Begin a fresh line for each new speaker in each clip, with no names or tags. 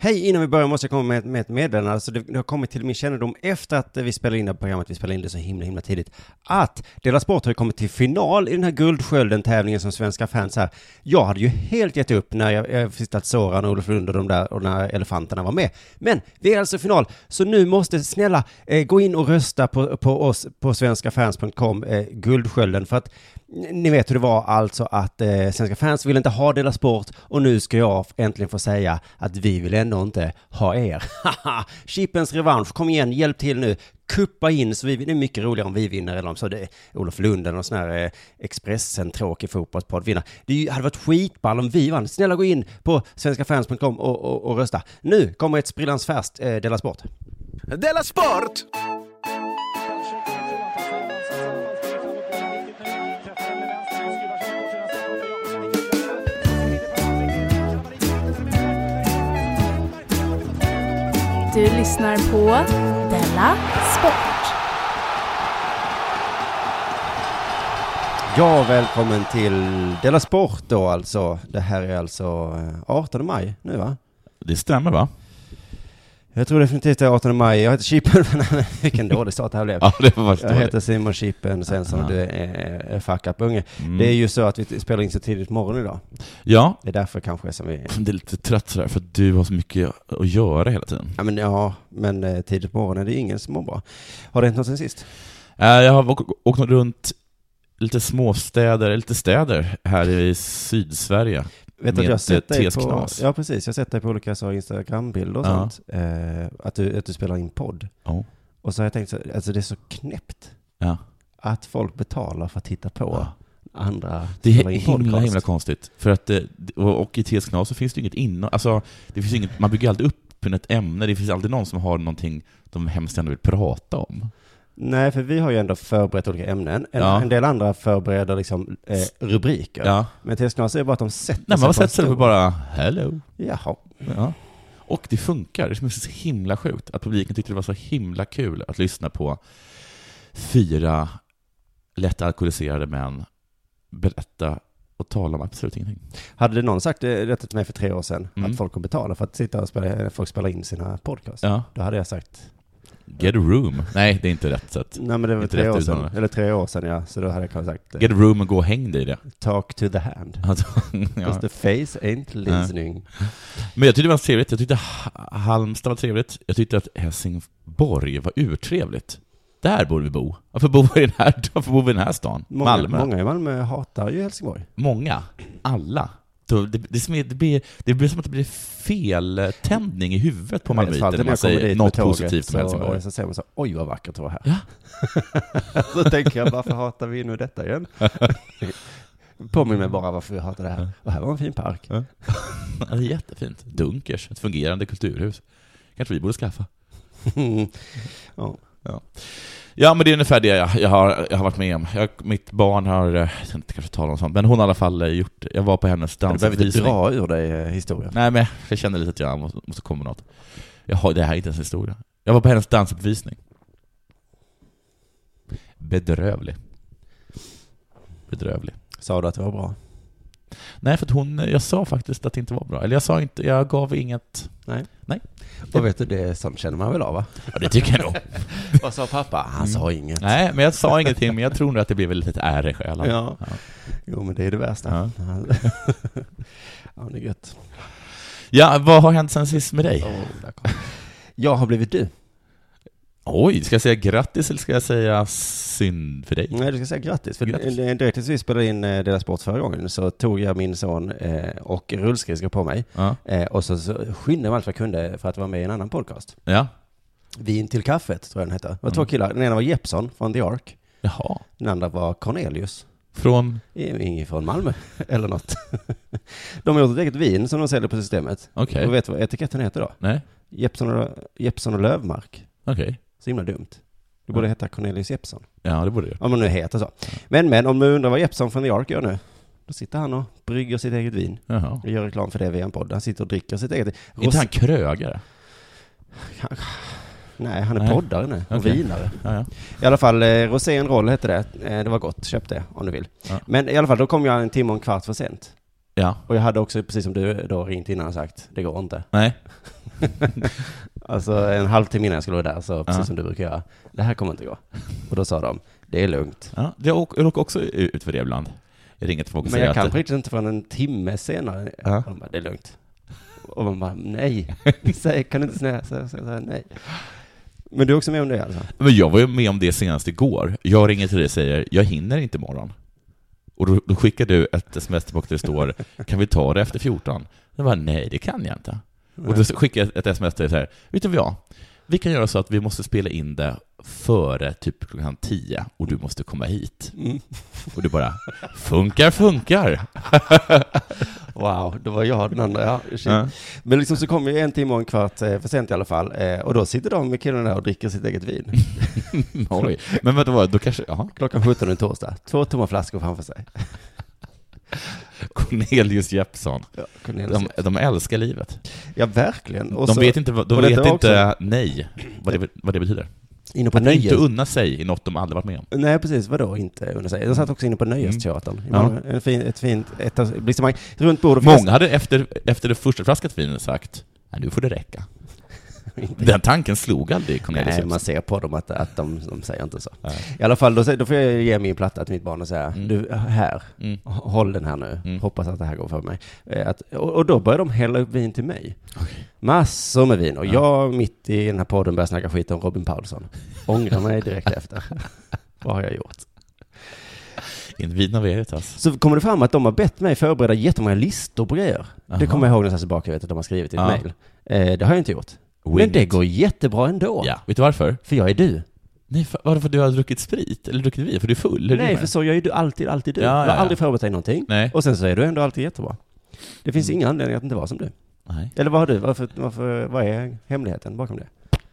Hej, innan vi börjar måste jag komma med, med ett meddelande. Alltså det, det har kommit till min kännedom efter att vi spelade in det här programmet, vi spelade in det så himla, himla tidigt, att Dela Sport har ju kommit till final i den här Guldskölden-tävlingen som svenska fans här. Jag hade ju helt gett upp när jag, jag visste att Soran och Olof Lund och de där och de där elefanterna var med. Men vi är alltså i final, så nu måste snälla eh, gå in och rösta på, på oss på svenskafans.com, eh, Guldskölden, för att n- ni vet hur det var alltså att eh, svenska fans ville inte ha Dela Sport och nu ska jag äntligen få säga att vi vill ändå inte ha er. Haha! Chippens revansch, kom igen, hjälp till nu. Kuppa in, så vi, det är mycket roligare om vi vinner eller om så det är Olof Lunden och sån här eh, Expressen, tråkig fotbollspodd vinner. Det är ju- hade varit skitball om vi vann. Snälla gå in på svenskafans.com och, och, och rösta. Nu kommer ett sprillans färskt eh, Dela Sport.
Della Sport!
Du lyssnar på Della Sport.
Ja, välkommen till Dela Sport då alltså. Det här är alltså eh, 18 maj nu va?
Det stämmer va?
Jag tror definitivt det är 18 maj. Jag heter Chippen, vilken dålig start det här blev.
Ja, det var faktiskt
Jag
dåligt.
heter Simon Chippen Svensson och du är eh, fuck up unge.
Mm.
Det är ju så att vi spelar in så tidigt morgon idag.
Ja,
Det är därför kanske som vi...
det är lite trött sådär för att du har så mycket att göra hela tiden.
Ja men, ja, men eh, tidigt på morgonen, det är ju ingen som mår bra. Har det hänt något sen sist?
Eh, Jag har åkt, åkt runt lite småstäder, lite städer här i Sydsverige.
Vet du
Med eh,
att jag har sett dig på...
tesknas.
Ja precis, jag har sett dig på olika så här Instagram-bilder och
Ja.
sånt. Eh, att, du, att du spelar in podd.
Ja.
Och så har jag tänkt så, alltså det är så knäppt
Ja.
att folk betalar för att titta på
Ja.
andra
Det är
spela in
himla,
podcast.
himla konstigt. För att, eh, och och i TS-knas så finns det ju inget innan, alltså, det finns inget, man bygger alltid upp ett ämne, det finns alltid någon som har någonting de hemskt gärna vill prata om.
Nej, för vi har ju ändå förberett olika ämnen. En,
Ja.
en del andra förbereder liksom eh, rubriker.
Ja.
Men tesknas är bara att de sätter
Nej,
sig
man
på en
sätter sig upp
stol.
och bara ”hello”.
Jaha.
Ja. Och det funkar. Det är så himla sjukt att publiken tyckte det var så himla kul att lyssna på fyra lätt alkoholiserade män berätta och tala om absolut ingenting.
Hade det någon sagt eh, detta till mig för tre år sedan,
Mm.
att folk kommer betala för att sitta och spela, eh, folk spelar in sina podcast,
Ja.
då hade jag sagt,
Get a room. Nej, det är inte rätt sätt.
nej men det var
Inte
tre
rätt
år sedan,
uttalande.
eller tre år sedan ja, så då hade jag kanske sagt, eh,
Get a room och gå och häng dig i det.
talk to the hand.
Alltså,
Because
ja.
the face ain't listening.
Men jag tyckte det var trevligt. Jag tyckte Ha- Halmstad var trevligt. Jag tyckte att Helsingborg var urtrevligt. Där borde vi bo. Varför bor vi i den här, varför bor vi i den här stan?
Många,
Malmö.
många i Malmö hatar ju Helsingborg.
Många. Alla. Då- Det, det, som är- det, blir, det blir som att det blir feltändning i huvudet på malmöiter när man säger något positivt om Helsingborg.
Så, så säger man så, oj vad vackert det var här.
Ja.
så tänker jag, varför hatar vi nu detta igen? Påminn mig bara varför vi hatar det här. Och här var en fin park.
Ja, Det är jättefint. Dunkers, ett fungerande kulturhus. kanske vi borde skaffa.
ja.
Ja, men det är ungefär det jag, jag, har, jag har varit med om. Jag, mitt barn har, eh, jag ska inte kanske tala om sånt, men hon har i alla fall eh, gjort, jag var på hennes
Du behöver inte
dansuppvisning.
dra ur dig eh, historien.
Nej, men jag kände lite att jag måste, måste komma med något. Jag har, det här är inte ens historia. Jag var på hennes dansuppvisning. Bedrövlig. Bedrövlig.
Sa du att det var bra?
Nej, för att hon, jag sa faktiskt att det inte var bra. Eller jag sa inte, jag gav inget...
Och vet du, det är sånt känner man väl av va?
Ja, det tycker jag nog.
Vad sa pappa? Han sa inget.
Mm. Nej, men jag sa ingenting, men jag tror nog att det blev ett litet ärr i själen.
Ja. Jo, men det är det värsta. Ja, men det är gött.
Ja, vad har hänt sen sist med dig?
Jag har blivit du.
Oj, ska jag säga grattis eller ska jag säga synd för dig?
Nej, du ska säga grattis. För
Grattis.
grattis. direkt tills vi spelade in eh, Dela Sport förra gången så tog jag min son eh, och rullskridskor på mig.
Ja.
Eh, och så, så skyndade jag mig allt vad jag kunde för att vara med i en annan podcast.
ja.
Vin till kaffet, tror jag den hette. Det var
Mm.
två killar. Den ena var Jeppson från The Ark.
Jaha.
Den andra var Cornelius.
Från...
Ingen från Malmö, eller något. De har gjort ett eget vin som de säljer på systemet.
Okej.
Och vet du vad etiketten heter då?
Nej,
Jeppson och, Jeppson och Lövmark.
okej.
Så himla dumt. Det borde heta Cornelius Jeppson.
Ja, det borde du.
Om man nu heter så. Men, men, om du undrar vad Jeppson från The Ark gör nu? Då sitter han och brygger sitt eget vin.
Jaha.
Vi gör reklam för det via en podd. Han sitter och dricker sitt eget
Är inte han krögare?
Nej, han är
Nej.
poddare nu. Och
Okej.
vinare.
Ja, ja.
I alla fall, eh, Rosén Roll hette det. Eh, det var gott. Köp det om du vill.
Ja.
Men i alla fall, då kom jag en timme och en kvart för sent.
ja.
Och jag hade också, precis som du då, ringt innan och sagt, det går inte.
Nej.
Alltså en halvtimme innan jag skulle vara där, så precis
Ja.
som du brukar göra. Det här kommer inte gå. Och då sa de, det är lugnt.
Ja, jag åk- jag råkar också ut för det ibland. Jag ringer till folk och
Men
säger
jag
att...
kan på riktigt inte förrän en timme senare.
Ja.
Och de bara, det är lugnt. Och man bara, nej. Säg, kan du inte säga så här, så här, nej. Men du är också med om det alltså?
Men jag var ju med om det senast igår. Jag ringer till dig och säger, jag hinner inte imorgon. Och då, då skickar du ett sms tillbaka där det står, kan vi ta det efter 14? Jag bara, nej det kan jag inte. Och då skickar jag ett sms till dig så här, vet du vad? Vi kan göra så att vi måste spela in det före typ klockan 10 och du måste komma hit.
Mm.
Och du bara, funkar, funkar.
Wow, då var jag den andra. Ja, shit.
Ja.
Men liksom så kommer ju en timme och en kvart eh, för sent i alla fall. Eh, Och då sitter de med killarna där och dricker sitt eget vin.
Oj. Men vänta, vad, då kanske, jaha,
Klockan 17 en torsdag. Två tomma flaskor framför sig.
Cornelius Jeppsson.
Ja, Cornelius.
De, de älskar livet.
ja verkligen. Och
De
så
vet inte, vad-
och
de
det
vet
där
inte nej, vad det, vad det betyder.
inne på
Inte
nöjes...
unna sig i något de aldrig varit med om.
Nej, precis. Vadå inte under sig? Jag satt också inne på Nöjesteatern. i
Ja.
Malmö. En fin, ett fint etablissemang. Ett runt bord och
Många hade efter, efter det första flaskat vin sagt Nej, nu får det räcka. Den tanken slog aldrig Cornelis
Nej,
Jeppsson.
man ser på dem att, att de, de säger inte så.
Nej.
I alla fall, då, sä- då får jag ge min platta till mitt barn och säga,
Mm.
du, här,
Mm.
H- håll den här nu,
Mm.
hoppas att det här går för mig. Eh, Att, och, och då börjar de hälla upp vin till mig. Massor med vin. Och
Ja.
jag, mitt i den här podden, börjar snacka skit om Robin Paulsson. Ångrar mig direkt efter. Vad har jag gjort?
In vina veritas.
Så kommer det fram att de har bett mig förbereda jättemånga listor på grejer. Det
Aha.
kommer jag ihåg när jag satt tillbaka, jag vet att de har skrivit i ett
Ja.
mejl. Eh, det har jag inte gjort. Men
Winged.
det går jättebra ändå.
Ja, vet du varför?
För jag är du.
Nej, för, varför du har druckit sprit? Eller druckit vin? För du är full? Hur
Nej,
rimmar
för
det?
så gör ju du alltid, alltid du.
Ja,
du har
ja, ja.
aldrig förberett dig någonting.
Nej.
Och sen så är du ändå alltid jättebra. Det
Mm.
finns ingen anledning att inte vara som du.
Nej.
Eller vad har du? Varför, varför, vad är hemligheten bakom det?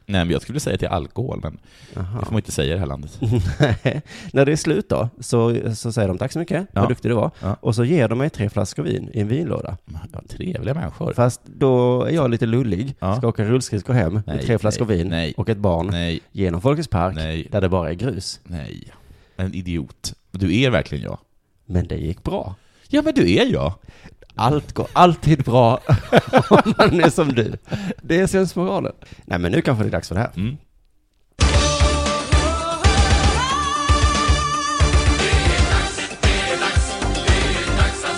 Nej, men jag skulle säga till alkohol, men det får
Jaha.
man inte säga i det här landet.
När det är slut då, så, så säger de tack så mycket,
Ja.
vad duktig du var.
Ja.
Och så ger de mig tre flaskor vin i en vinlåda.
Ja, trevliga människor.
Fast då är jag lite lullig,
Ja.
ska åka rullskridskor hem med
Nej,
tre flaskor
nej,
vin
nej.
och ett barn
Nej,
genom Folkets park
nej,
där det bara är grus.
nej. En idiot. Du är verkligen jag.
Men det gick bra.
Ja, men du är jag.
Allt går alltid bra om man är som du. Det är sensmoralen. Nej men nu kanske det är dags för det här.
Mm.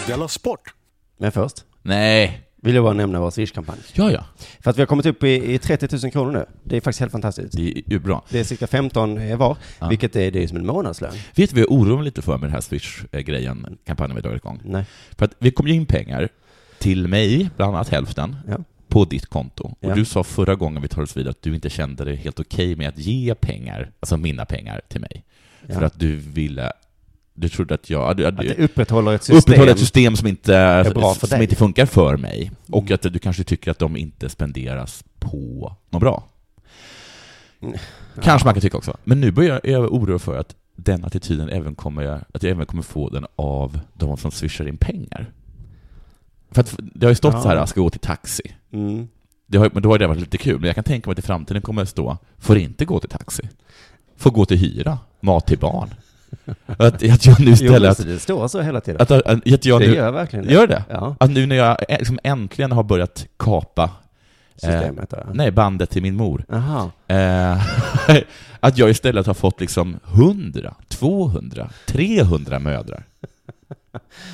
Della Sport!
Men först
Nej.
vill jag bara nämna vår Swish-kampanj.
Ja, ja.
För att vi har kommit upp i, i 30 000 kronor nu. Det är faktiskt helt fantastiskt.
Det är ju bra.
Det är cirka 15 eh, var,
Ja.
vilket är, det är som en månadslön.
Vet du vad jag oroar mig lite för med den här Swish-grejen, kampanjen vi har dragit igång?
Nej.
För att vi kom ju in pengar till mig, bland annat hälften,
Ja.
på ditt konto.
Ja.
Och du sa förra gången vi tar oss vidare att du inte kände det helt okej med att ge pengar, alltså mina pengar, till mig.
Ja.
För att du ville, du trodde att jag, att du,
Att det upprätthåller ett system.
upprätthålla ett system som, inte,
bra för
som
dig.
inte funkar för mig. Och
Mm.
att du kanske tycker att de inte spenderas på något bra.
Mm.
Kanske man kan tycka också. Men nu börjar jag är oroa för att den attityden även kommer, att jag även kommer få den av de som swishar in pengar. För att det har ju stått
Ja.
så här, jag ska gå till taxi.
Mm.
Det har, men då har det varit lite kul, men jag kan tänka mig att i framtiden kommer det stå, får inte gå till taxi. Får gå till hyra, mat till barn. att, att jag nu
Jo, men
istället,
så det står så hela tiden.
att, att, att, att jag
det
nu, Eh,
gör verkligen det.
gör det?
Ja,
Att nu när jag ä- liksom äntligen har börjat kapa,
systemet där.
nej, bandet till min mor,
Aha.
eh, att jag istället har fått liksom 100, 200, 300 mödrar.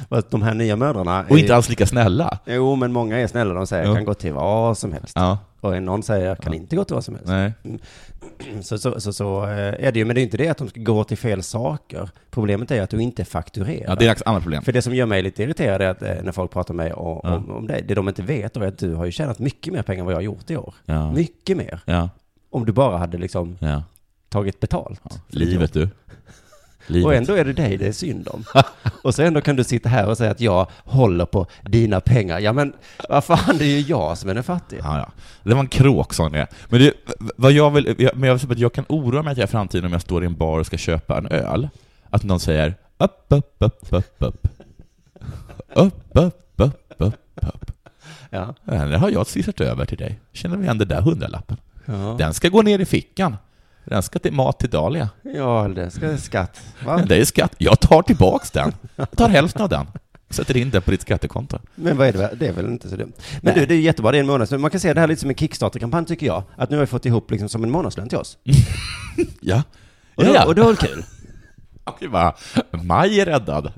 För att de här nya mödrarna...
Och
är-
inte alls lika snälla.
Jo, men många är snälla. De säger
Ja.
jag kan gå till vad som helst.
Ja,
Och någon säger jag kan
Ja.
inte gå till vad som helst.
nej.
Så, så, så, så eh, är det ju, men det är inte det att de ska gå till fel saker. Problemet är att du inte fakturerar.
Ja, det är ett annat problem.
För det som gör mig lite irriterad är att eh, när folk pratar med mig om,
Ja.
om, om dig, det de inte vet då är att du har ju tjänat mycket mer pengar än vad jag har gjort i år.
Ja,
Mycket mer.
ja,
Om du bara hade liksom
ja.
tagit betalt.
ja. Livet du. Livet.
Och ändå är det dig det är synd om. Och så ändå kan du sitta här och säga att jag håller på dina pengar. Ja men vad fan, det är ju jag som är den fattiga.
Ja, ja. Det var en kråk sa det. Men det, vad jag vill, jag, men jag, vill säga att jag kan oroa mig att jag i framtiden om jag står i en bar och ska köpa en öl, att någon säger upp, upp, upp, upp, upp. Upp, upp, upp, upp, upp.
Ja.
Ja, Det har jag swishat över till dig. Känner vi igen den där hundralappen?
Ja.
Den ska gå ner i fickan. Den ska till mat till Dahlia.
ja, det ska skatt. Va?
Det är skatt. Jag tar tillbaks den. Jag tar hälften av den. sätter in det på ditt skattekonto.
Men vad är det? Det är väl inte så dumt. Men
Nej.
du, det är ju jättebra. Det är en månadslön. Man kan se det här lite som en Kickstarter-kampanj tycker jag. Att nu har vi fått ihop liksom som en månadslön till oss.
Ja.
Och,
ja.
då, och det var väl kul?
Och det bara, maj är räddad.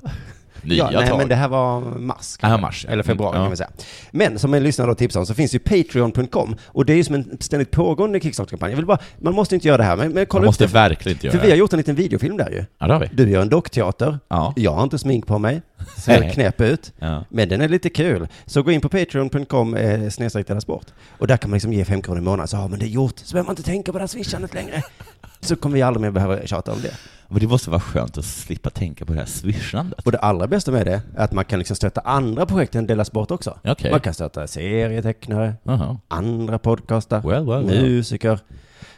Nya
ja, nej,
tag.
men det här var mars.
Ja, mars, ja.
Eller februari
Mm, ja.
kan man säga. Men som en lyssnare då tipsar om så finns ju Patreon.com och det är ju som en ständigt pågående Kickstarter-kampanj. Jag vill bara, man måste inte göra det här, men, men kolla
Man måste
upp det.
verkligen inte göra
För vi har
det.
gjort en liten videofilm där ju.
Ja, det har vi.
Du gör en dockteater.
Ja.
Jag har inte smink på mig. Ser
Nej.
knäpp ut.
Ja.
Men den är lite kul. Så gå in på patreon.com eh, snedstreck Della sport. Och där kan man liksom ge fem kronor i månaden. Så har man det är gjort. Så behöver man inte tänka på det här swishandet längre. Så kommer vi aldrig mer behöva tjata om det.
Men det måste vara skönt att slippa tänka på det här swishandet.
Och det allra bästa med det är att man kan liksom stötta andra projekt än Della Sport också.
Okej.
Man kan stötta serietecknare,
Jaha.
andra podcaster,
Well, well, well.
musiker.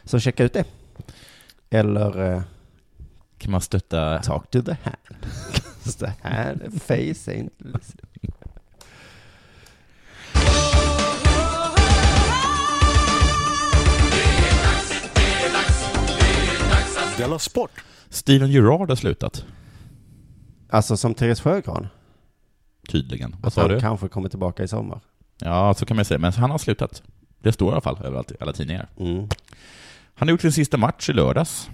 Så checka ut det. Eller eh,
Kan man stötta...
talk to the hand. 'Cause the hand face ain't listening.
Della Sport!
Steven Gerrard har slutat,
Alltså som Therese Sjögran.
tydligen. Vad
Att
sa
han
du?
kanske kommer tillbaka i sommar.
Ja, så kan man ju säga. Men han har slutat. Det står i alla fall överallt i alla tidningar.
Mm.
Han har gjort sin sista match i lördags,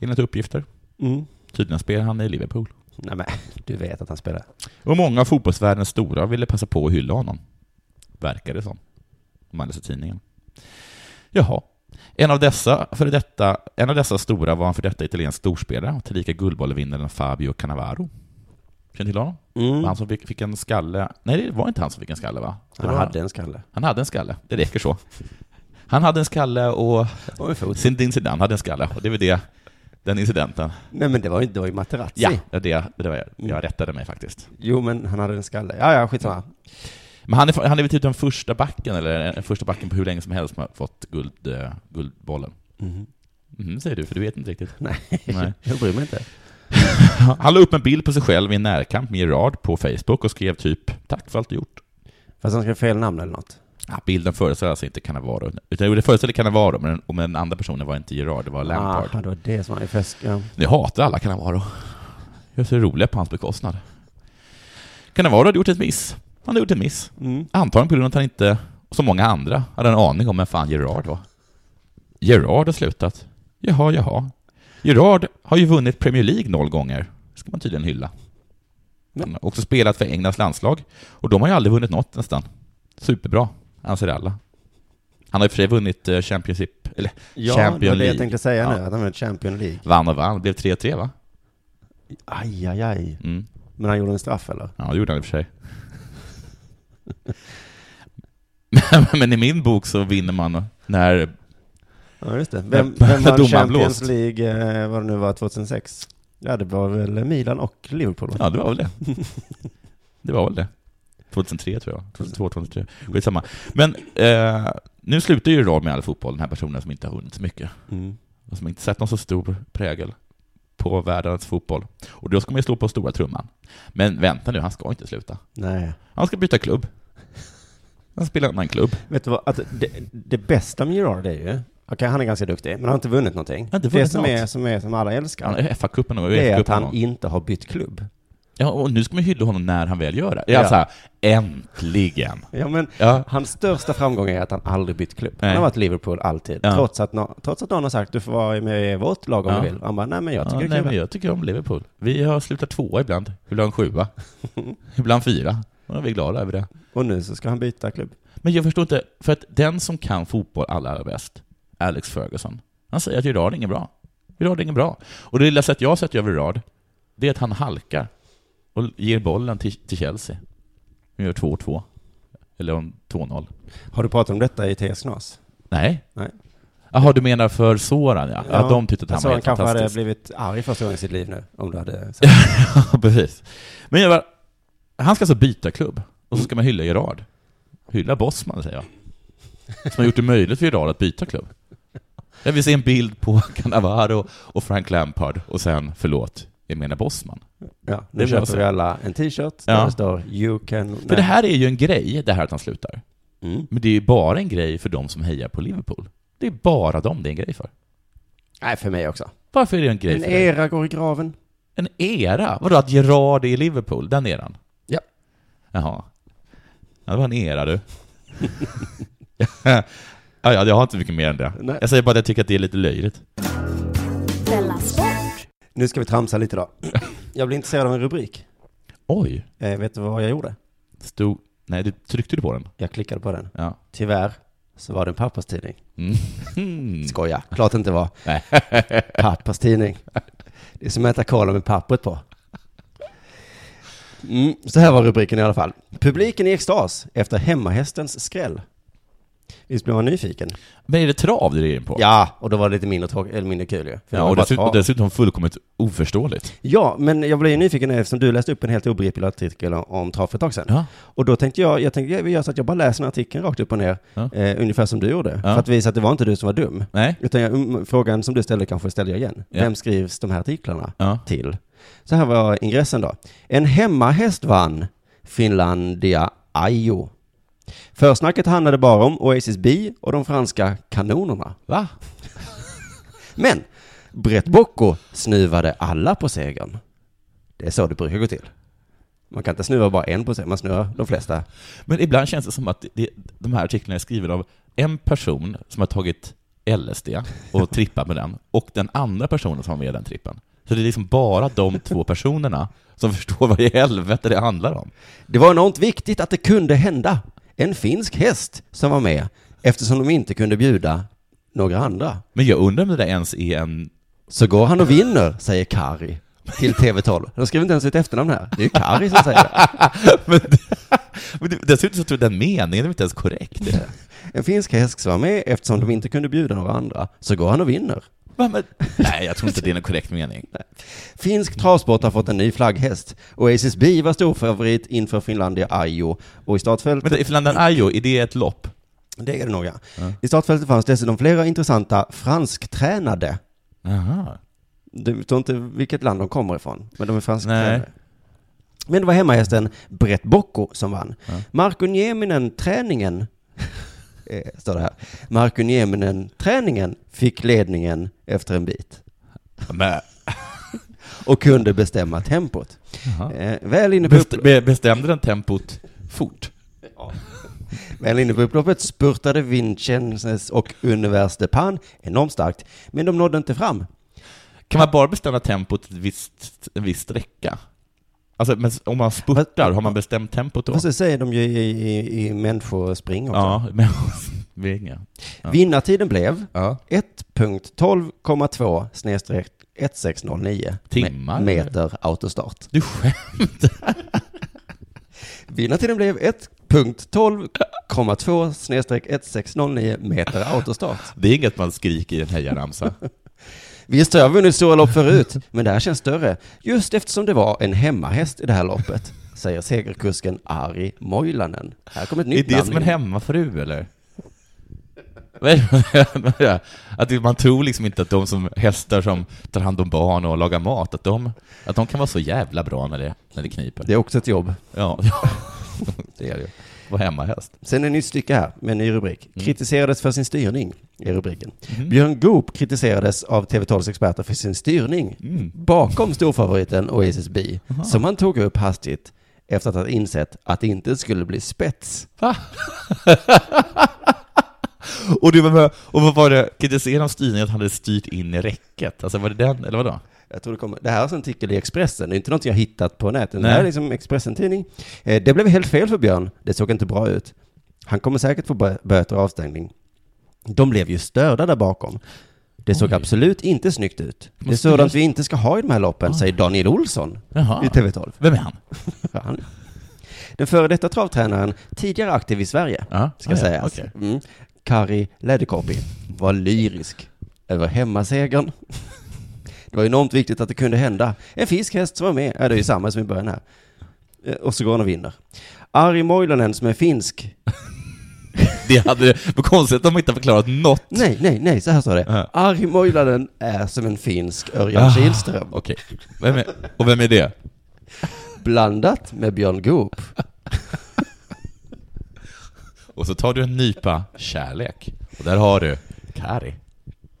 enligt uppgifter.
Mm.
Tydligen spelar han i Liverpool.
Nej men, du vet att han spelar.
Och många av fotbollsvärldens stora ville passa på att hylla honom. Verkar det som. Om man läser tidningen. Jaha. En av dessa, för detta, en av dessa stora var en för detta italiensk storspelare, tillika Guldbollevinnaren Fabio Cannavaro. Känner till honom?
Mm.
Var Han som fick, fick en skalle. Nej, det var inte han som fick en skalle va? Det
Han
var,
hade en skalle.
han hade en skalle, det räcker så. Han hade en skalle och
Och en fot.
Zinedine Zidane hade en skalle, och det var det, den incidenten.
Nej men det var ju, det var ju Materazzi.
Ja, det, det var jag,
Mm.
jag rättade mig faktiskt.
Jo men han hade en skalle. Ja ja, skitsamma.
Men han är, han är väl typ den första backen, eller den första backen på hur länge som helst som har fått guld, eh, Guldbollen.
Mm.
Mm, säger du, för du vet inte riktigt.
Nej.
Nej.
jag bryr mig inte.
Han la upp en bild på sig själv i en närkamp med Gerard på Facebook och skrev typ ”Tack för allt du gjort”.
Fast han skrev fel namn eller något.
Ja, bilden föreställer alltså inte Cannavaro, utan jo, det föreställer Cannavaro, men, den- och men den andra personen var inte Gerard, det var Lampard.
Ah, det var det som var i fest. Ja.
Nu hatar alla Cannavaro. Jag är så roliga på hans bekostnad. Cannavaro hade gjort ett miss. Han hade gjort en miss.
Mm.
Antagligen på grund av att han inte, som många andra, hade en aning om vem fan Gerard var. Gerard har slutat. Jaha, jaha. Gerard har ju vunnit Premier League noll gånger. Det ska man tydligen hylla. Han har också spelat för Englands landslag. Och de har ju aldrig vunnit något nästan. Superbra, anser alla. Han har i och för sig vunnit eh, Championship, eller
Ja,
Champion
det var det jag
League.
tänkte säga nu.
Ja.
Att han var Champion League.
vann och vann. Det blev 3-3 va?
Aj, aj, aj.
Mm.
Men han gjorde en straff eller?
Ja, det gjorde han i och för sig. Men- Men i min bok så vinner man när
Ja, just det.
Vem-
Vem, vem
domaren
vann Champions
blåst.
League, eh, vad det nu var, 2006? Ja, det var väl Milan och Liverpool? va?
Ja, det var väl det. Det var väl det. 2003 tror jag. 2002, 2003. Skitsamma. Men eh, nu slutar ju Gerard med all fotboll, den här personen som inte har hunnit så mycket.
Mm.
Och som inte satt någon så stor prägel på världens fotboll. Och då ska man ju slå på stora trumman. Men vänta nu, han ska inte sluta.
Nej.
Han ska byta klubb. Han spelar i en annan klubb.
Vet du vad, att det, det bästa med Gerard är ju, okej han är ganska duktig, men han har inte vunnit någonting.
har inte
det
vunnit
som
något.
är, som är, som alla älskar,
Han är FA-cupen och
det är att
uefa
han
han...
inte har bytt klubb.
Ja, och nu ska man ju hylla honom när han väl gör det. Det är
Ja.
alltså här, äntligen!
Ja, men
Ja.
hans största framgång är att han aldrig bytt klubb.
Nej.
Han har varit Liverpool alltid,
Ja.
trots, att nå- trots att någon har sagt du får vara med i vårt lag om
Ja.
du vill. Han bara, nej men jag tycker
ja,
det
nej,
är
men
kul.
jag tycker om Liverpool. Vi har slutat tvåa ibland, ibland sjua, ibland fyra. Och då är vi glada över det.
Och nu så ska han byta klubb.
Men jag förstår inte, för att den som kan fotboll allra, allra bäst, Alex Ferguson, han säger att Gerard är inget bra. Gerard är inget bra. Och det lilla sätt jag har sett över Gerard, det är att han halkar och ger bollen till, till Chelsea. De gör 2-2. Eller om 2-0.
Har du pratat om detta i TS Knas?
Nej.
Nej.
Jaha, du menar för Soran ja. ja. de tyckte att han
Så
var
han
helt
kanske
fantastisk.
hade blivit arg första gången i sitt liv nu, om du hade sagt
Ja, precis. Men jag bara, han ska alltså byta klubb, och så ska man hylla Gerard. Hylla Bosman, säger jag. Som har gjort det möjligt för Gerard att byta klubb. Jag vill se en bild på Cannavaro och Frank Lampard, och sen, förlåt, jag menar Bosman.
Ja,
Det
nu
vill jag
köper vi
säga.
alla en t-shirt där
Ja.
det står You can...
För det här är ju en grej, det här att han slutar.
Mm.
Men det är ju bara en grej för de som hejar på Liverpool. Det är bara dem det är en grej för.
Nej, för mig också.
Varför är det en grej
En
för dig?
era går i graven.
En era? Vadå, att Gerard är i Liverpool? Den eran?
Ja.
Jaha. Ja, det var en era du. ja, ja, jag har inte mycket mer än det.
Nej.
Jag säger bara att jag tycker att det är lite löjligt.
Della Sport.
Nu ska vi tramsa lite då. Jag blev intresserad av en rubrik.
Oj,
Eh, vet du vad jag gjorde?
stod... Nej, du tryckte du på den?
Jag klickade på den.
Ja.
Tyvärr så var det en papperstidning.
Mm.
Skoja, klart det inte var.
Nej.
Papperstidning. Det är som att äta kola med pappret på. Mm, så här var rubriken i alla fall. Publiken i extas efter hemmahästens skräll. Visst blev man nyfiken?
Men är det trav du är inne på?
Ja, och då var det lite mindre, tråk- eller mindre kul ju. För det
ja
var
och
bara
dessutom,
trav.
dessutom fullkomligt oförståeligt.
Ja, men jag blev ju nyfiken eftersom du läste upp en helt obegriplig artikel om trav för ett tag sedan.
Ja.
Och då tänkte jag, jag tänkte, vi gör så att jag bara läser den här artikeln rakt upp och ner,
Ja.
eh, ungefär som du gjorde.
Ja.
För att visa att det var inte du som var dum.
Nej?
Utan jag, mm, frågan som du ställde kanske ställer jag igen.
Ja.
Vem skrivs de här artiklarna
Ja.
till? Så här var ingressen då. En hemmahäst vann Finlandia Ajo. Försnacket handlade bara om Oasis B och de franska kanonerna.
Va?
Men Brett Bocco snuvade alla på segern. Det är så det brukar gå till. Man kan inte snuva bara en på segern, man snuvar de flesta.
Men ibland känns det som att det- det, de här artiklarna är skrivna av en person som har tagit LSD och trippat med den, och den andra personen som var med i den trippen. Så det är liksom bara de två personerna som förstår vad i helvete det handlar om.
Det var enormt viktigt att det kunde hända. En finsk häst som var med, eftersom de inte kunde bjuda några andra.
Men jag undrar om det där ens är en...
Så går han och vinner, säger Kari till TV12. De skriver inte ens sitt efternamn här. Det är ju Kari som säger det.
Men, men det- dessutom så tror jag den meningen är inte ens korrekt.
En finsk häst som var med, eftersom de inte kunde bjuda några andra. Så går han och vinner.
Va, men, nej, jag tror inte det är en korrekt mening.
Finsk travsport har fått en ny flagghäst. Oasis B var storfavorit inför Finlandia Ajo. Och i startfält...
Men i Finlandan Ajo, är det ett lopp?
Det är det nog, ja. I startfältet fanns dessutom flera intressanta fransktränade.
Aha.
Du tror inte vilket land de kommer ifrån, men de är
Nej.
fransktränade. Men det var hemmahästen Brett Bocco som vann. Marko Nieminen träningen, eh, står det här. Marko Nieminen träningen fick ledningen efter en bit
Men,
och kunde bestämma tempot.
Jaha.
Eh, väl, inne på
best,
upp,
be- bestämde den tempot fort?
väl inne på upploppet spurtade Vincennes och Univers de Pan enormt starkt, men de nådde inte fram.
Kan man bara bestämma tempot ett visst, en viss sträcka? Alltså, men om man spurtar, har man bestämt tempot då?
Fast det säger de ju i, i, i människospring också.
Ja, men... Vinga. Ja.
Vinnartiden blev
Ja.
1.12,2 snedstreck 1609
Timmar,
me- meter autostart.
Du skämtar?
Vinnartiden blev 1.12,2 snedstreck 1609 meter autostart.
Det är inget man skriker i en hejaramsa.
Visst har jag vunnit stora lopp förut, men det här känns större. Just eftersom det var en hemmahäst i det här loppet, säger segerkusken Ari Moilanen. Här kommer ett
är
nytt
det som en
namn. in.
hemmafru, eller? Vad är det? att det- man tror liksom inte att de som hästar som tar hand om barn och lagar mat, att de, att de kan vara så jävla bra när det, när det kniper.
Det är också ett jobb.
Ja, det är det ju. Var hemmahäst.
Sen en nytt stycke här med en ny rubrik.
Mm.
Kritiserades för sin styrning är rubriken.
Mhm.
Björn Goop kritiserades av TV12s experter för sin styrning
Mm.
bakom storfavoriten Oasis B som han tog upp hastigt efter att ha insett att det inte skulle bli spets.
Och, du, var med- och vad var det, kritiserade de styrningen att han hade styrt in i räcket? Alltså var det den, eller vadå?
Jag tror det, kommer. det här är alltså en artikel i Expressen, det är inte något jag hittat på nätet. Det
Nej.
här är liksom Expressen-tidning. Eh, Det blev helt fel för Björn, det såg inte bra ut. Han kommer säkert få bö- böter och avstängning. De blev ju störda där bakom. Det såg
Oj.
absolut inte snyggt ut. Det är
Måste
sådant
just-
vi inte ska ha i de här loppen,
Oj.
säger Daniel Olsson
Jaha.
i TV12.
Vem är han?
Han. Den före detta travtränaren, tidigare aktiv i Sverige,
Ah, Ja,
ska sägas.
okej.
Mm. Kari Läderkorpi var lyrisk över hemmasegern. Det var enormt viktigt att det kunde hända. En fiskhäst som var med, ja, det är ju samma som i början här. Eh, Och så går han och vinner. Ari Moilanen som är finsk.
Det hade men konstigt att de inte har förklarat något.
Nej, nej, nej, så här står det.
Ja. Ah.
Ari Moilanen är som en finsk Örjan Kihlström.
Okej. Vem är, och vem är det?
Blandat med Björn Goop.
Och så tar du en nypa kärlek. Och där har du Kari.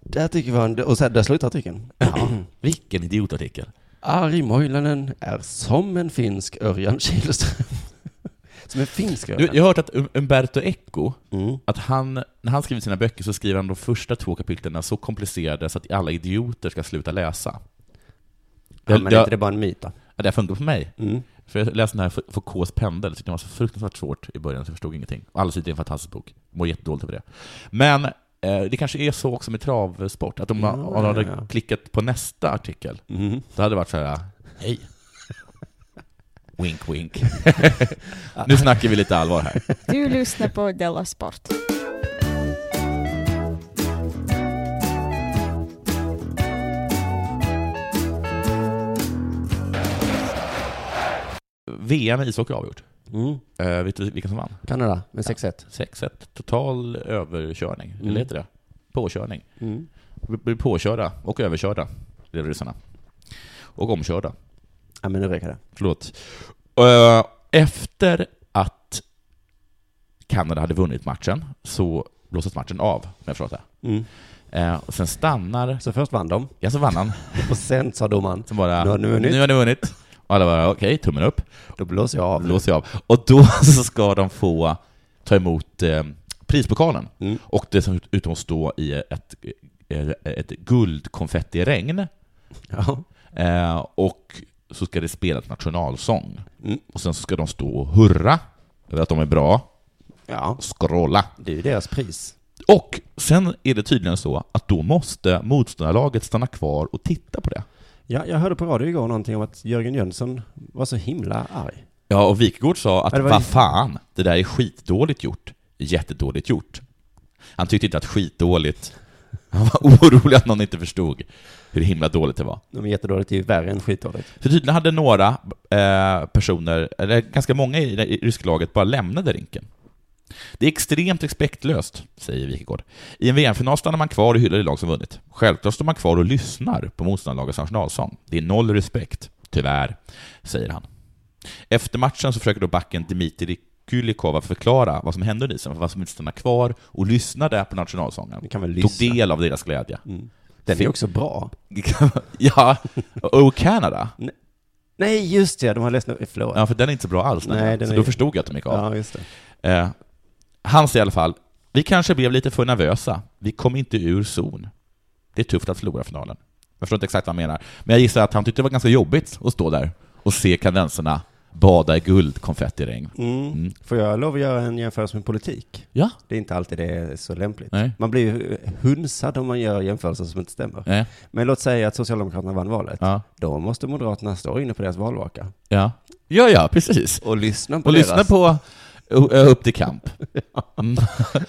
Där tycker vi han, och så här, där slutar artikeln.
Ja, vilken idiotartikel.
Ari Moilanen är som en finsk Örjan Kihlström. Som en finsk
Du,
öl.
jag har hört att Um- Umberto Eco,
Mm.
att han, när han skriver sina böcker så skriver han de första två kapitlen så komplicerade så att alla idioter ska sluta läsa.
Ja, men
jag,
är inte det bara en myt då?
ja, det har funkat på mig.
Mm.
För jag läste den här F- Foucaults pendel, tyckte den var så fruktansvärt svårt i början så jag förstod ingenting. Och Alldeles ut är en fantastisk bok. Mår jättedåligt över det. Men eh, det kanske är så också med travsport, att om man,
Ja,
om man hade
ja, ja.
klickat på nästa artikel,
Mm.
då hade det varit så här, hej. Wink, wink. nu snackar vi lite allvar här.
Du lyssnar på Della Sport.
VM i ishockey avgjort.
Mm.
Eh, vet du vilka som vann?
Kanada med 6-1.
6-1. Total överkörning.
Mm.
Eller heter det? Påkörning.
Mm.
B- Blir påkörda och överkörda, blev ryssarna. Och omkörda.
Ja, men nu räcker det.
Förlåt. Eh, Efter att Kanada hade vunnit matchen så blåstes matchen av, om jag förstått det.
Mm.
Eh, och sen stannar...
Så först vann de,
Ja, så vann han.
och sen sa domaren,
Sen bara...
Nu har ni vunnit.
Nu har ni vunnit. Och alla bara, okej, tummen upp.
då blåser jag av.
blåser jag av. Och då så ska de få ta emot eh, prispokalen.
Mm.
Och dessutom stå i ett, eh, ett guldkonfettiregn.
Ja.
Eh, och så ska det spelas nationalsång.
Mm.
Och sen så ska de stå och hurra över att de är bra,
ja,
och scrolla.
det är ju deras pris.
Och sen är det tydligen så att då måste motståndarlaget stanna kvar och titta på det.
Ja, jag hörde på radio igår någonting om att Jörgen Jönsson var så himla arg.
Ja, och Wikegård sa att
Ja, det var-
vad fan, det där är skitdåligt gjort. Jättedåligt gjort. Han tyckte inte att skitdåligt... Han var orolig att någon inte förstod hur himla dåligt det var.
De är jättedåligt, det är ju värre än skitdåligt.
För tydligen hade några eh, personer, eller ganska många i det i ryska laget, bara lämnade rinken. Det är extremt respektlöst, säger Wikegård. I en VM-final stannar man kvar och hyllar det lag som vunnit. Självklart står man kvar och lyssnar på motståndarlagets nationalsång. Det är noll respekt, tyvärr, säger han. Efter matchen så försöker då backen Dmitrij Kulikova förklara vad som hände under isen, för vad som inte stannar kvar och lyssnade på nationalsången.
Vi kan väl
Tog
lyssna.
del av deras glädje.
Den är också bra.
ja, och Kanada.
Nej, just det, de har läst... Eh, Förlåt.
Ja, för den är inte så bra alls.
Nej,
Nej,
den
så
är-
då förstod jag att de gick av.
Ja, just det.
Eh, han säger i alla fall, vi kanske blev lite för nervösa. Vi kom inte ur zon. Det är tufft att förlora finalen. Jag förstår inte exakt vad han menar. Men jag gissar att han tyckte det var ganska jobbigt att stå där och se kandenserna bada i guldkonfettiregn.
Mm.
Mm.
Får jag lov att göra en jämförelse med politik?
Ja.
Det är inte alltid det är så lämpligt.
Nej.
Man blir ju hunsad om man gör jämförelser som inte stämmer.
Nej.
Men låt säga att Socialdemokraterna vann valet.
Ja.
Då måste Moderaterna stå inne på deras valvaka
Ja. ja, ja, precis.
och lyssna på
Och
deras.
lyssna på Ö- Ö- Upp till kamp.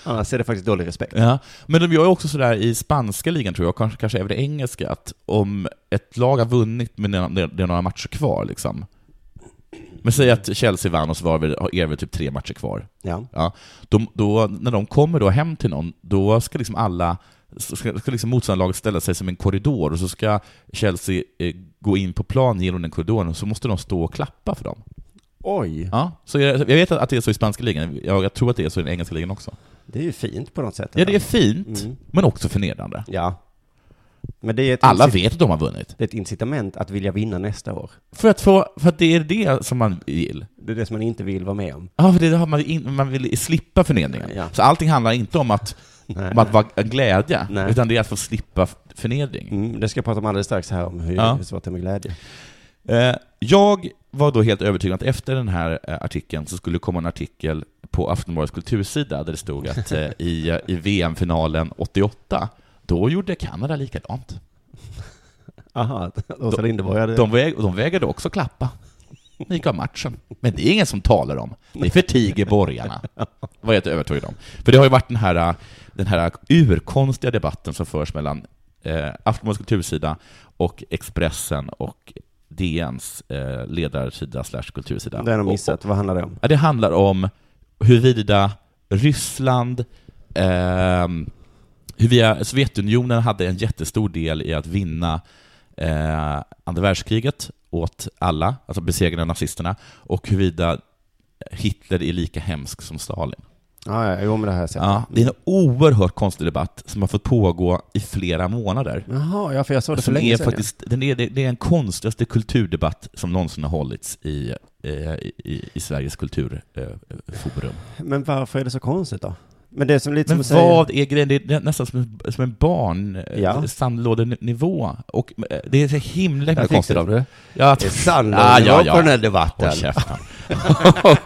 Annars är det faktiskt dålig respekt.
Ja, men de gör ju också sådär i spanska ligan tror jag, kanske, kanske även det engelska, att om ett lag har vunnit men det är- det är några matcher kvar liksom. Men säg att Chelsea vann och så var vi, är vi typ tre matcher kvar.
Ja.
Ja, de, då, när de kommer då hem till någon, då ska liksom alla ska, ska liksom motståndarlaget ställa sig som en korridor och så ska Chelsea eh, gå in på plan genom den korridoren och så måste de stå och klappa för dem.
Oj,
Ja, så jag, jag vet att det är så i spanska ligan, jag, jag tror att det är så i den engelska ligan också.
det är ju fint på något sätt.
Ja, det är fint,
Mm.
men också förnedrande.
Ja. Men det är ett,
Alla
incit-
vet att de har vunnit.
det är ett incitament att vilja vinna nästa år.
För att, få, för att det är det som man vill.
Det är det som man inte vill vara med om.
Ja, för det har man, in, man vill slippa förnedringen.
Ja.
Så allting handlar inte om att,
Nej.
om att vara glädje,
Nej.
utan det är att få slippa förnedring.
Mm, det ska jag prata om alldeles strax här om hur,
Ja.
hur svårt det är med glädje.
Eh, jag var då helt övertygad att efter den här eh, artikeln så skulle det komma en artikel på Aftonbladets kultursida där det stod att eh, i, i VM-finalen 88, då gjorde Kanada likadant.
Aha, att Åsa Linderborg hade...
De, väg, de vägrade också klappa. De gick av matchen. Men det är ingen som talar om. Det förtiger borgarna. Vad jag inte övertygad om. För det har ju varit den här, äh, den här urkonstiga debatten som förs mellan eh, Aftonbladets kultursida och Expressen och DNs eh, ledarsida slash kultursida.
det har de
Och-
missat. Vad handlar det om?
Ja, det handlar om huruvida Ryssland, ehm, huruvida Sovjetunionen hade en jättestor del i att vinna eh, andra världskriget åt alla, alltså besegra nazisterna, och huruvida Hitler är lika hemsk som Stalin.
Ja, ja, jo, men det här sett.
Ja, det är en oerhört konstig debatt som har fått pågå i flera månader.
Jaha, ja, för jag såg det för
Som
länge
är
sedan.
faktiskt, den är, det det är den konstigaste kulturdebatt som någonsin har hållits i, eh, i, i Sveriges kulturforum.
ja. Men varför är det så konstigt då? Men det är som lite
Men
som att säga...
vad är grejen? Det är nästan som en, som en barn eh,
Ja.
sandlådenivå. Och eh, det är så himla, himla
Jag fick
konstigt
det.
av det. Ja,
Det är sannolikt
Ja, ja,
på
ja.
den här debatten.
Håll käften. Men det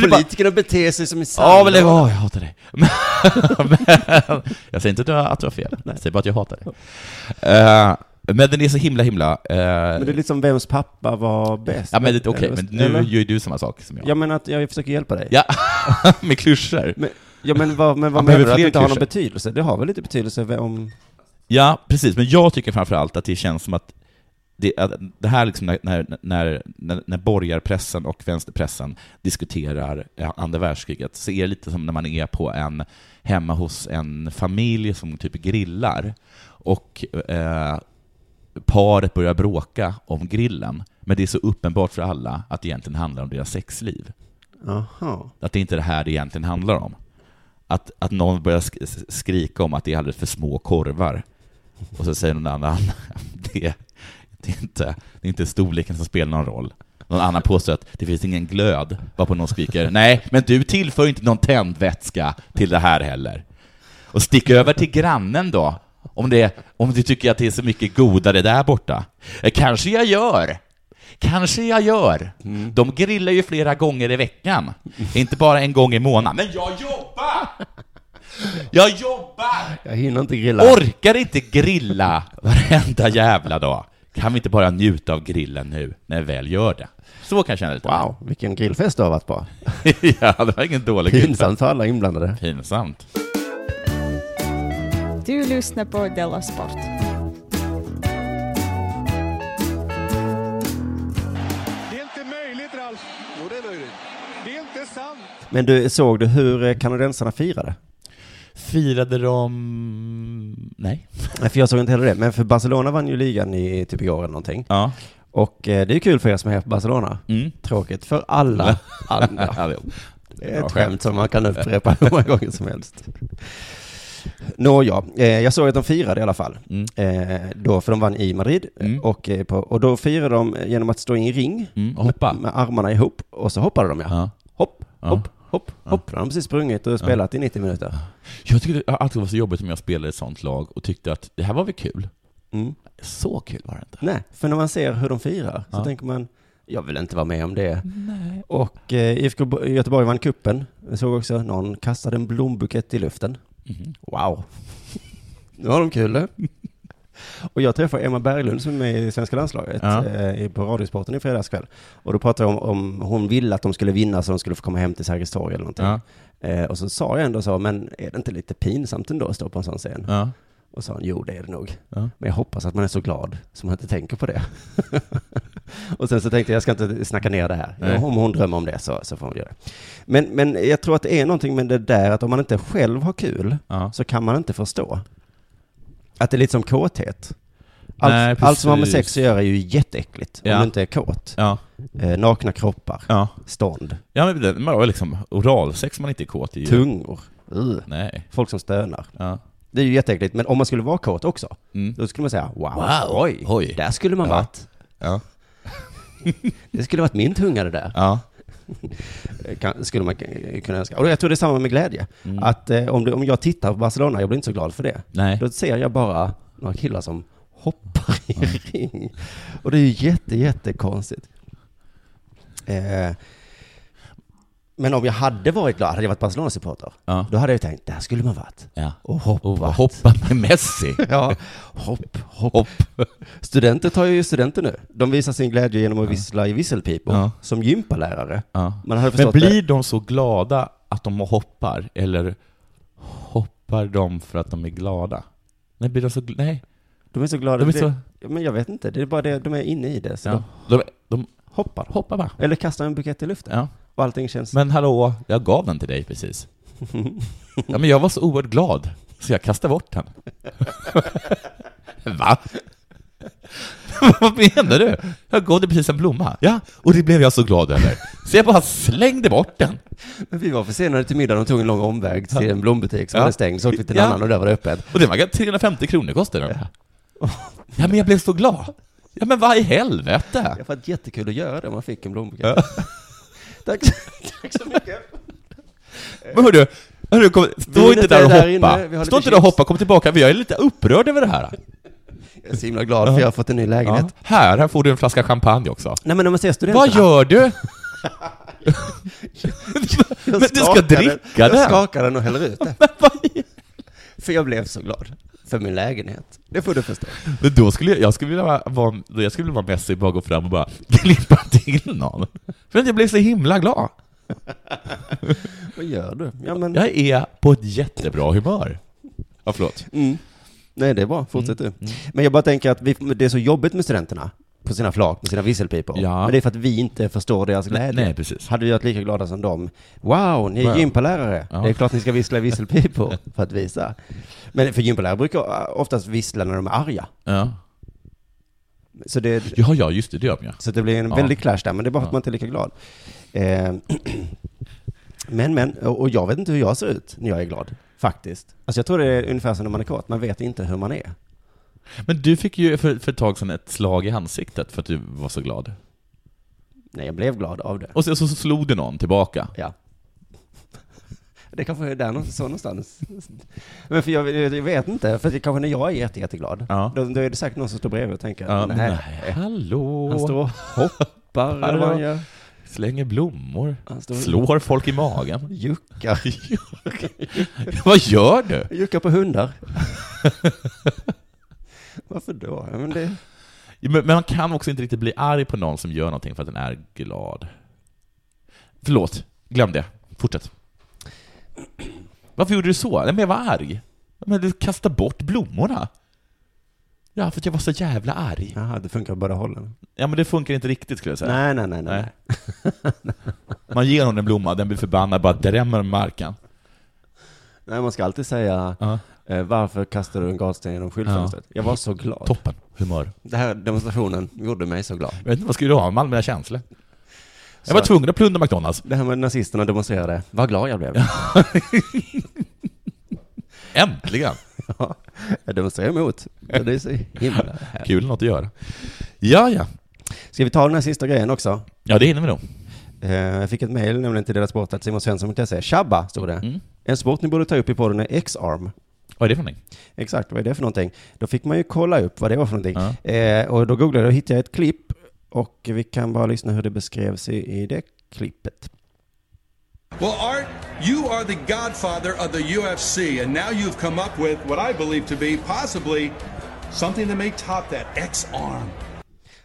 är bara...
Politikerna beter sig som en
Ja, men lägg
sandlåda.
av, jag hatar dig. Men, men- jag säger inte att du har, att du har fel, jag säger bara att jag hatar dig. Eh, men den är så himla, himla... eh,
Men det är lite som vems pappa var bäst.
ja, men det- okej,
Eller-
men nu
eller?
gör ju du samma sak som jag.
Jag menar att jag försöker hjälpa dig.
Ja, med klyschor.
Men, ja, men vad, men vad menar
Han behöver
du? Att det
fler
inte har någon
kurser.
betydelse? Det har väl lite betydelse vem- om...
Ja, precis. Men jag tycker framför allt att det känns som att det, att det här liksom när, när, när, när, när borgarpressen och vänsterpressen diskuterar eh, andra världskriget, så är det lite som när man är på en, hemma hos en familj som typ grillar, och eh, paret börjar bråka om grillen, men det är så uppenbart för alla att det egentligen handlar om deras sexliv.
Jaha.
Att det inte är det här det egentligen handlar om. Att, att någon börjar sk- skrika om att det är alldeles för små korvar. Och så säger någon annan, det, det, är inte, det är inte storleken som spelar någon roll. Någon annan påstår att det finns ingen glöd, varpå någon skriker, nej, men du tillför inte någon tändvätska till det här heller. Och stick över till grannen då, om, det, om du tycker att det är så mycket godare där borta. Eh, Kanske jag gör. Kanske jag gör. De grillar ju flera gånger i veckan. Inte bara en gång i månaden. Men jag jobbar! Jag jobbar!
Jag hinner inte grilla.
Orkar inte grilla varenda jävla dag. Kan vi inte bara njuta av grillen nu, när vi väl gör det? Så kan jag känna lite.
Wow, vilken grillfest du har varit på.
ja, det var ingen dålig grill.
Pinsamt för alla inblandade.
Pinsamt.
Du lyssnar på Della Sport.
Det är inte möjligt, Ralf. Jo, det är möjligt. Det är inte sant.
Men du, såg du hur eh, kanadensarna firade?
Firade de... Nej.
Nej, för jag såg inte heller det. Men för Barcelona vann ju ligan i typ igår eller någonting.
Ja.
Och eh, det är kul för er som är här på Barcelona.
Mm.
Tråkigt för alla andra.
Allihop.
Det är ett skämt som man kan upprepa hur många gånger som helst. Nåja, eh, jag såg att de firade i alla fall.
Mm.
Eh, då, för de vann i Madrid.
Mm.
Och, eh, på, och då firade de genom att stå i en ring
Mm. och Hoppa.
med armarna ihop. Och så hoppade de ja.
Ja.
Hopp,
Ja.
hopp, hopp, hopp. De har precis sprungit och spelat i 90 minuter.
Jag tyckte det alltid var så jobbigt om jag spelade i ett sånt lag och tyckte att det här var väl kul.
Mm.
Så kul var det inte.
Nej, för när man ser hur de firar så
Ja.
tänker man, jag vill inte vara med om det. Och eh, IFK Bo- Göteborg vann kuppen. Jag såg också att någon kastade en blombukett i luften.
Mhm.
Wow. Nu har de
eh?
kul det. Och jag träffade Emma Berglund som är med i svenska landslaget
Ja.
eh, i- på Radiosporten i fredags kväll. Och då pratade jag om, om hon ville att de skulle vinna så de skulle få komma hem till Sergels torg eller någonting.
Ja.
Eh, och så sa jag ändå så, men är det inte lite pinsamt ändå att stå på en sån scen?
Ja.
Och sa hon, jo det är det nog.
Ja.
Men jag hoppas att man är så glad som man inte tänker på det. och sen så tänkte jag, jag ska inte snacka ner det här.
Nej.
Om hon drömmer om det så, så får hon göra det. Men, men jag tror att det är någonting med det där att om man inte själv har kul
Ja.
så kan man inte förstå. Att det är lite som kåthet. Allt,
Nej,
allt som har med
precis.
sex att göra är ju jätteäckligt om
Ja.
du inte är kåt.
Ja.
Eh, nakna kroppar,
Ja.
stånd,
Ja, men det- man var liksom oralsex om man inte är kåt i.
tungor, Ugh.
Nej.
folk som stönar.
Ja.
Det är ju jätteäckligt, men om man skulle vara kåt också,
Mm.
då skulle man säga wow,
Wow,
oj,
oj.
där skulle man
Ja.
varit.
Ja.
Det skulle varit min tunga det där,
Ja.
kan, skulle man eh, kunna önska. Och jag tror det är samma med glädje. Att eh, om, du, om jag tittar på Barcelona, jag blir inte så glad för det.
Mm. Nej.
Då ser jag bara några killar som hoppar i en ring. Och det är ju jätte, jättekonstigt. Eh, men om jag hade varit glad, hade jag varit Barcelona-supporter,
Ja.
då hade jag tänkt, där skulle man varit.
Ja.
Och hoppa.
Och vad hoppa med Messi.
Ja, hopp, hopp.
Hopp.
Studenter tar ju studenter nu. De visar sin glädje genom att vissla i visselpipor,
Ja.
som gympalärare.
Ja.
Man hade
Men
förstått det.
blir de så glada att de hoppar, eller hoppar de för att de är glada? Nej, blir de så... gl- Nej.
De är så glada.
De är
Det-
så-
Ja, Men jag vet inte, det är bara det, de är inne i det. Så
Ja.
de
De, de
hoppar.
hoppar bara.
Eller kastar en bukett i luften.
Ja.
Och allting känns...
Men hallå, jag gav den till dig precis. Ja, men jag var så oerhört glad, så jag kastade bort den. Va? Vad menar du? Jag gav dig precis en blomma. Ja, och det blev jag så glad över. Så jag bara slängde bort den.
Men vi var försenade till middagen och tog en lång omväg till en blombutik som
Ja.
var stängd. Så åkte vi till en
Ja.
annan och där var det öppet.
Och den var 350 kronor kostade den. Ja, men jag blev så glad. Ja, men vad i helvete?
Det var jättekul att göra det om man fick en blombukett.
Ja.
Tack, tack så mycket.
Men hörru, hörru kom,
är
stå inte
lite
där och
där
hoppa.
inne, vi har
stå
lite
inte där och
chips.
hoppa, kom tillbaka. Jag är lite upprörd över det här.
Jag är så himla glad för jag har fått en ny lägenhet.
Ja. Här, här får du en flaska champagne också.
Nej men när man ser studenterna.
Vad gör du?
Jag
Men du ska
skakar den.
dricka den.
Jag skakar den och häller ut den. För jag blev så glad. För min lägenhet. Det får du förstå.
Men då skulle jag, jag skulle vilja vara, vara- jag skulle vilja vara Messi bara gå fram och bara klippa till någon. För att jag blev så himla glad.
Vad gör du? Ja men,
Jag är på ett jättebra humör. Ja, förlåt.
mm. Nej det är bra, fortsätt
Mm.
du. Men jag bara tänker att vi, det är så jobbigt med studenterna. På sina flak, med sina visselpipor.
Ja.
Men det är för att vi inte förstår deras glädje.
nej, precis.
Hade vi varit lika glada som dem. Wow, ni är
Wow.
gympalärare.
Ja.
Det är klart ni ska vissla i visselpipor för att visa. Men för gympalärare brukar oftast vissla när de är arga.
Ja,
Så det,
ja, ja just det, det gör jag.
Så det blir en
Ja.
väldig clash där, men det är bara för att
Ja.
man inte är lika glad. Eh, men, men, och och jag vet inte hur jag ser ut när jag är glad, faktiskt. Alltså jag tror det är ungefär som när man är kåt, man vet inte hur man är.
Men du fick ju för, för ett tag sedan ett slag i ansiktet för att du var så glad.
Nej, jag blev glad av det.
Och så, så slog du någon tillbaka.
Ja. Det kanske är där någonstans, så någonstans. Men för jag, jag vet inte, för det kanske när jag är jätte, jätteglad,
Ja.
då, då är det säkert någon som står bredvid och tänker,
Ja,
nej,
nej, hallå.
han står och hoppar eller vad han gör.
Slänger blommor.
Han står och
Slår folk i magen.
juckar.
Vad gör du?
Jucka på hundar. Varför då? Ja, men det,
Men, men man kan också inte riktigt bli arg på någon som gör någonting för att den är glad. Förlåt, glöm det. Fortsätt. Varför gjorde du så? Nej, men jag var arg. Men du kastade bort blommorna. Ja, för att jag var så jävla arg.
jaha, det funkar på båda hållen.
Ja, men det funkar inte riktigt skulle jag säga.
Nej, nej, nej, nej.
Nej. Man ger någon en blomma, den blir förbannad, bara drämmer den marken.
Nej, man ska alltid säga
Ja.
eh, varför kastade du en gatsten genom skyltfönstret? Jag var så glad.
Toppen, humör.
Den här demonstrationen gjorde mig så glad.
Jag vet inte, vad skulle du ha? Malmö känslor.
Så-
Jag var tvungen att plundra McDonalds.
Det här med nazisterna demonstrerade, vad glad jag blev.
Äntligen!
Ja, jag demonstrerar emot. Det är så himla härligt.
Kul något att göra. Ja, ja.
Ska vi ta den här sista grejen också?
Ja, det hinner vi nog.
Eh, Jag fick ett mejl nämligen till deras sport att simonsvensson.se. Tjabba, stod det.
Mm.
En sport ni borde ta upp i podden är X-arm.
Vad är det för någonting?
Exakt, vad är det för någonting? Då fick man ju kolla upp vad det var för någonting.
Ja.
Eh, och då googlade jag och hittade jag ett klipp. Och vi kan bara lyssna hur det beskrevs i, i det klippet.
Well, Art, you are the godfather of the UFC, and now you've come up with what I believe to be possibly something that may top that X arm.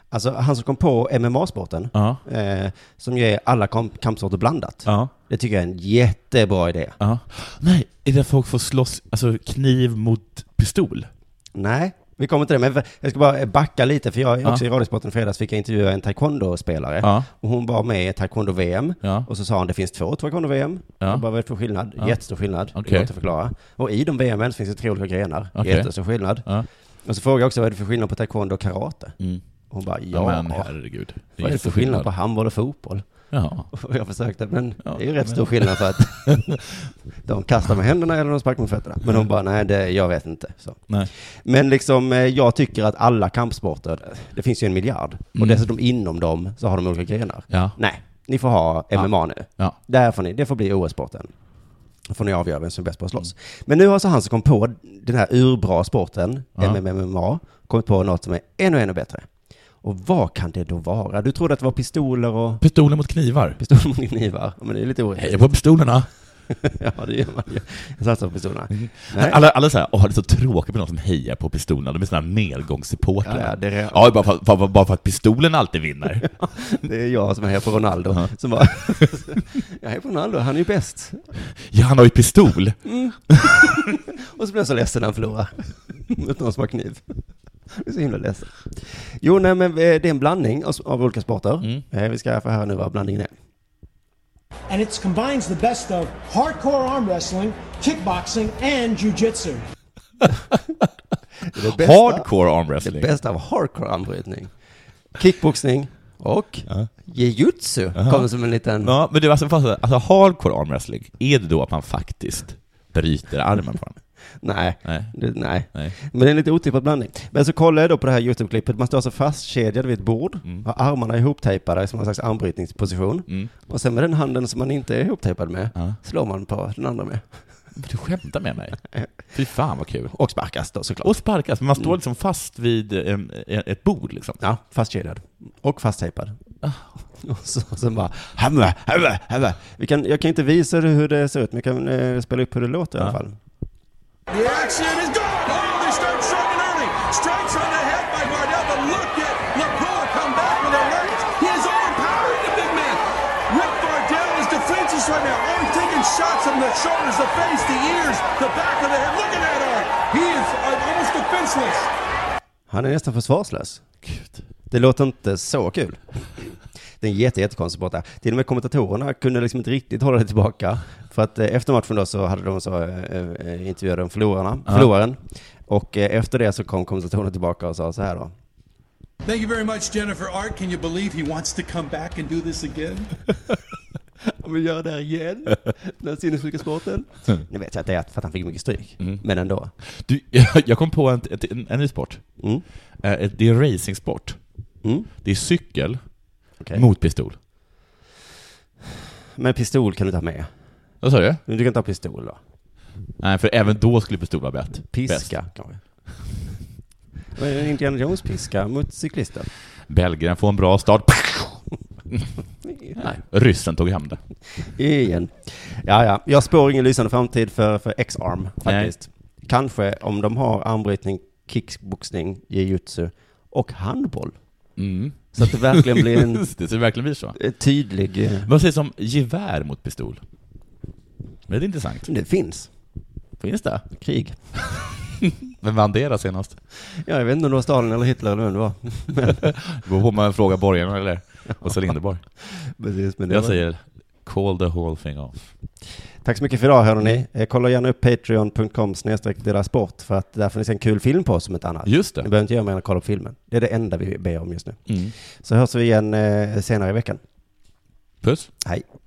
Alltså han som kom på MMA-sporten,
Ja.
eh, som ju är alla kamp- kampsporter blandat.
Ja.
Det tycker jag är en jättebra idé.
Ja. Nej, är det att folk får slåss, alltså kniv mot pistol?
Nej, vi kommer till det. Men jag ska bara backa lite, för jag är
Ja.
också i Radiosporten i fredags fick jag intervjua en taekwondo-spelare.
Ja.
Och hon var med i taekwondo-VM.
Ja.
Och så sa han det finns två taekwondo-VM.
Ja.
Jag bara, vad är det för skillnad? Jättestor skillnad. Det
Okej.
går inte att förklara. Och i de VMen så finns det tre olika grenar.
Okej.
Jättestor skillnad.
Ja.
Och så frågade jag också, vad är det för skillnad på taekwondo och karate?
Mm.
Hon bara, ja.
Ja, men herregud.
vad är det för skillnad på handboll och fotboll?
Ja.
Och jag försökte, men
Ja,
det är ju rätt
men-
stor skillnad för att de kastar med händerna eller de sparkar med fötterna. Men hon bara, nej, det, jag vet inte. Så.
Nej.
Men liksom, eh, jag tycker att alla kampsporter, det finns ju en miljard, och
Mm.
dessutom inom dem så har de olika grenar.
Ja.
Nej, ni får ha MMA nu.
Ja.
Där får ni, det får bli OS-sporten. Då får ni avgöra vem som är bäst på att
Mm.
slåss. Men nu har så han som kom på den här urbra sporten,
Ja.
MMA, kommit på något som är ännu, ännu bättre. Och vad kan det då vara? Du trodde att det var pistoler och
Pistoler mot knivar.
pistol mot knivar? Ja, Men det är lite
Heja
orättvist.
på pistolerna!
Ja, det gör man ju. Jag satsar på pistolerna.
Mm.
Nej.
Alla, alla såhär, åh det är så tråkigt med någon som hejar på pistolerna, de är såna här nedgångssupportrar.
Ja, ja, det är-
ja bara, för, att- bara, bara för att pistolen alltid vinner.
Det är jag som hejar på Ronaldo.
Ja.
Som bara, jag hejar på Ronaldo, han är ju bäst.
ja, han har ju pistol!
Och så blir jag så ledsen när han förlorar. Mot någon som har kniv. Jag är så himla ledsen. Jo, nej men eh, det är en blandning av- av olika sporter.
Mm.
Eh, Vi ska få höra nu vad blandningen är.
and it combines the best of hardcore arm wrestling, kickboxing, and jujitsu.
Det, är det bästa,
Hardcore
Det
armwrestling.
bästa av hardcore armbrytning. Kickboxning och
Ja.
jujutsu kommer som en liten...
Ja, men det var alltså, fast, alltså hardcore armwrestling, är det då att man faktiskt bryter armen på honom?
Nej.
Nej.
Det, nej.
Nej.
Men det är en lite otippad blandning. Men så kollar jag då på det här YouTube-klippet. Man står alltså fastkedjad vid ett bord,
Mm.
har armarna ihoptejpade som någon slags armbrytningsposition. Och sen med den handen som man inte är ihoptejpad med,
Ja.
slår man på den andra med.
Men Du skämtar med mig? Fy fan vad kul.
Och sparkas då såklart.
Och sparkas, men man står liksom fast vid em, ett bord liksom.
Ja, fastkedjad. Och fasttejpad.
Ah.
Och så, och sen bara, hamma, hamma, hamma. Vi kan, jag kan inte visa dig hur det ser ut, men jag kan eh, spela upp hur det låter i alla fall.
The action is gone. Oh, they start striking early. Strikes on the head by Bardell, but look at Lapua come back with a right. He is overpowering the big man. Rick Bardell is defenseless right now. Oh, he's taking shots from the shoulders, the face, the ears, the back of the head. Look at that arm. He is uh, almost defenseless.
Han är nästan försvarslös.
Gud.
Det låter inte så kul. Det är en jätte, jättekonstig sport där. Till och med kommentatorerna kunde liksom inte riktigt hålla det tillbaka. För att eh, efter matchen då så hade de så, eh, eh, intervjuade de förlorarna, förloraren. Och eh, efter det så kom kommentatorerna tillbaka och sa så här då.
Thank you very much, Jennifer Art. Can you believe he wants to come back and do this again?
Om vi gör det här igen, den här sinnessjuka sporten. Nu vet jag att det är för att han fick mycket stryk,
Mm.
men ändå.
Du, jag kom på en, en, en ny sport.
Mm.
Eh, ett- Det är racingsport.
Mm.
Det är cykel
Okej.
mot pistol.
Men pistol kan du ta med.
Vad sa du?
Men Du kan ta pistol då.
Nej, för även då skulle pistol vara bäst. Bäst.
Piska kanske. Vad är det, Indiana Jones-piska mot cyklister?
Belgien får en bra start. Nej, ryssen tog hem det.
Igen. Ja, ja. Jag spår ingen lysande framtid för, för X-Arm faktiskt. Kanske om de har armbrytning, kickboxning, jiu-jitsu och handboll. Så att det verkligen blir en
Mm. det ser verkligen blir så.
eh, tydlig... eh,
Vad sägs om gevär mot pistol? Det är intressant.
Det finns
Finns det?
krig.
Vem vann det då senast?
Ja, jag vet inte om det var Stalin eller Hitler eller vem det var.
Då får man fråga borgarna eller? Och så Lindeborg.
Precis, men det
Jag
var-
säger call the whole thing off.
Tack så mycket för idag hörni. Eh, Kolla gärna upp patreon.com snedstreck dela sport för att där finns en kul film på oss som ett annat.
Just
Ni
det. Mm.
behöver inte göra mer än att kolla på filmen. Det är det enda vi ber om just nu. Så hörs vi igen eh, senare i veckan.
Puss.
Hej.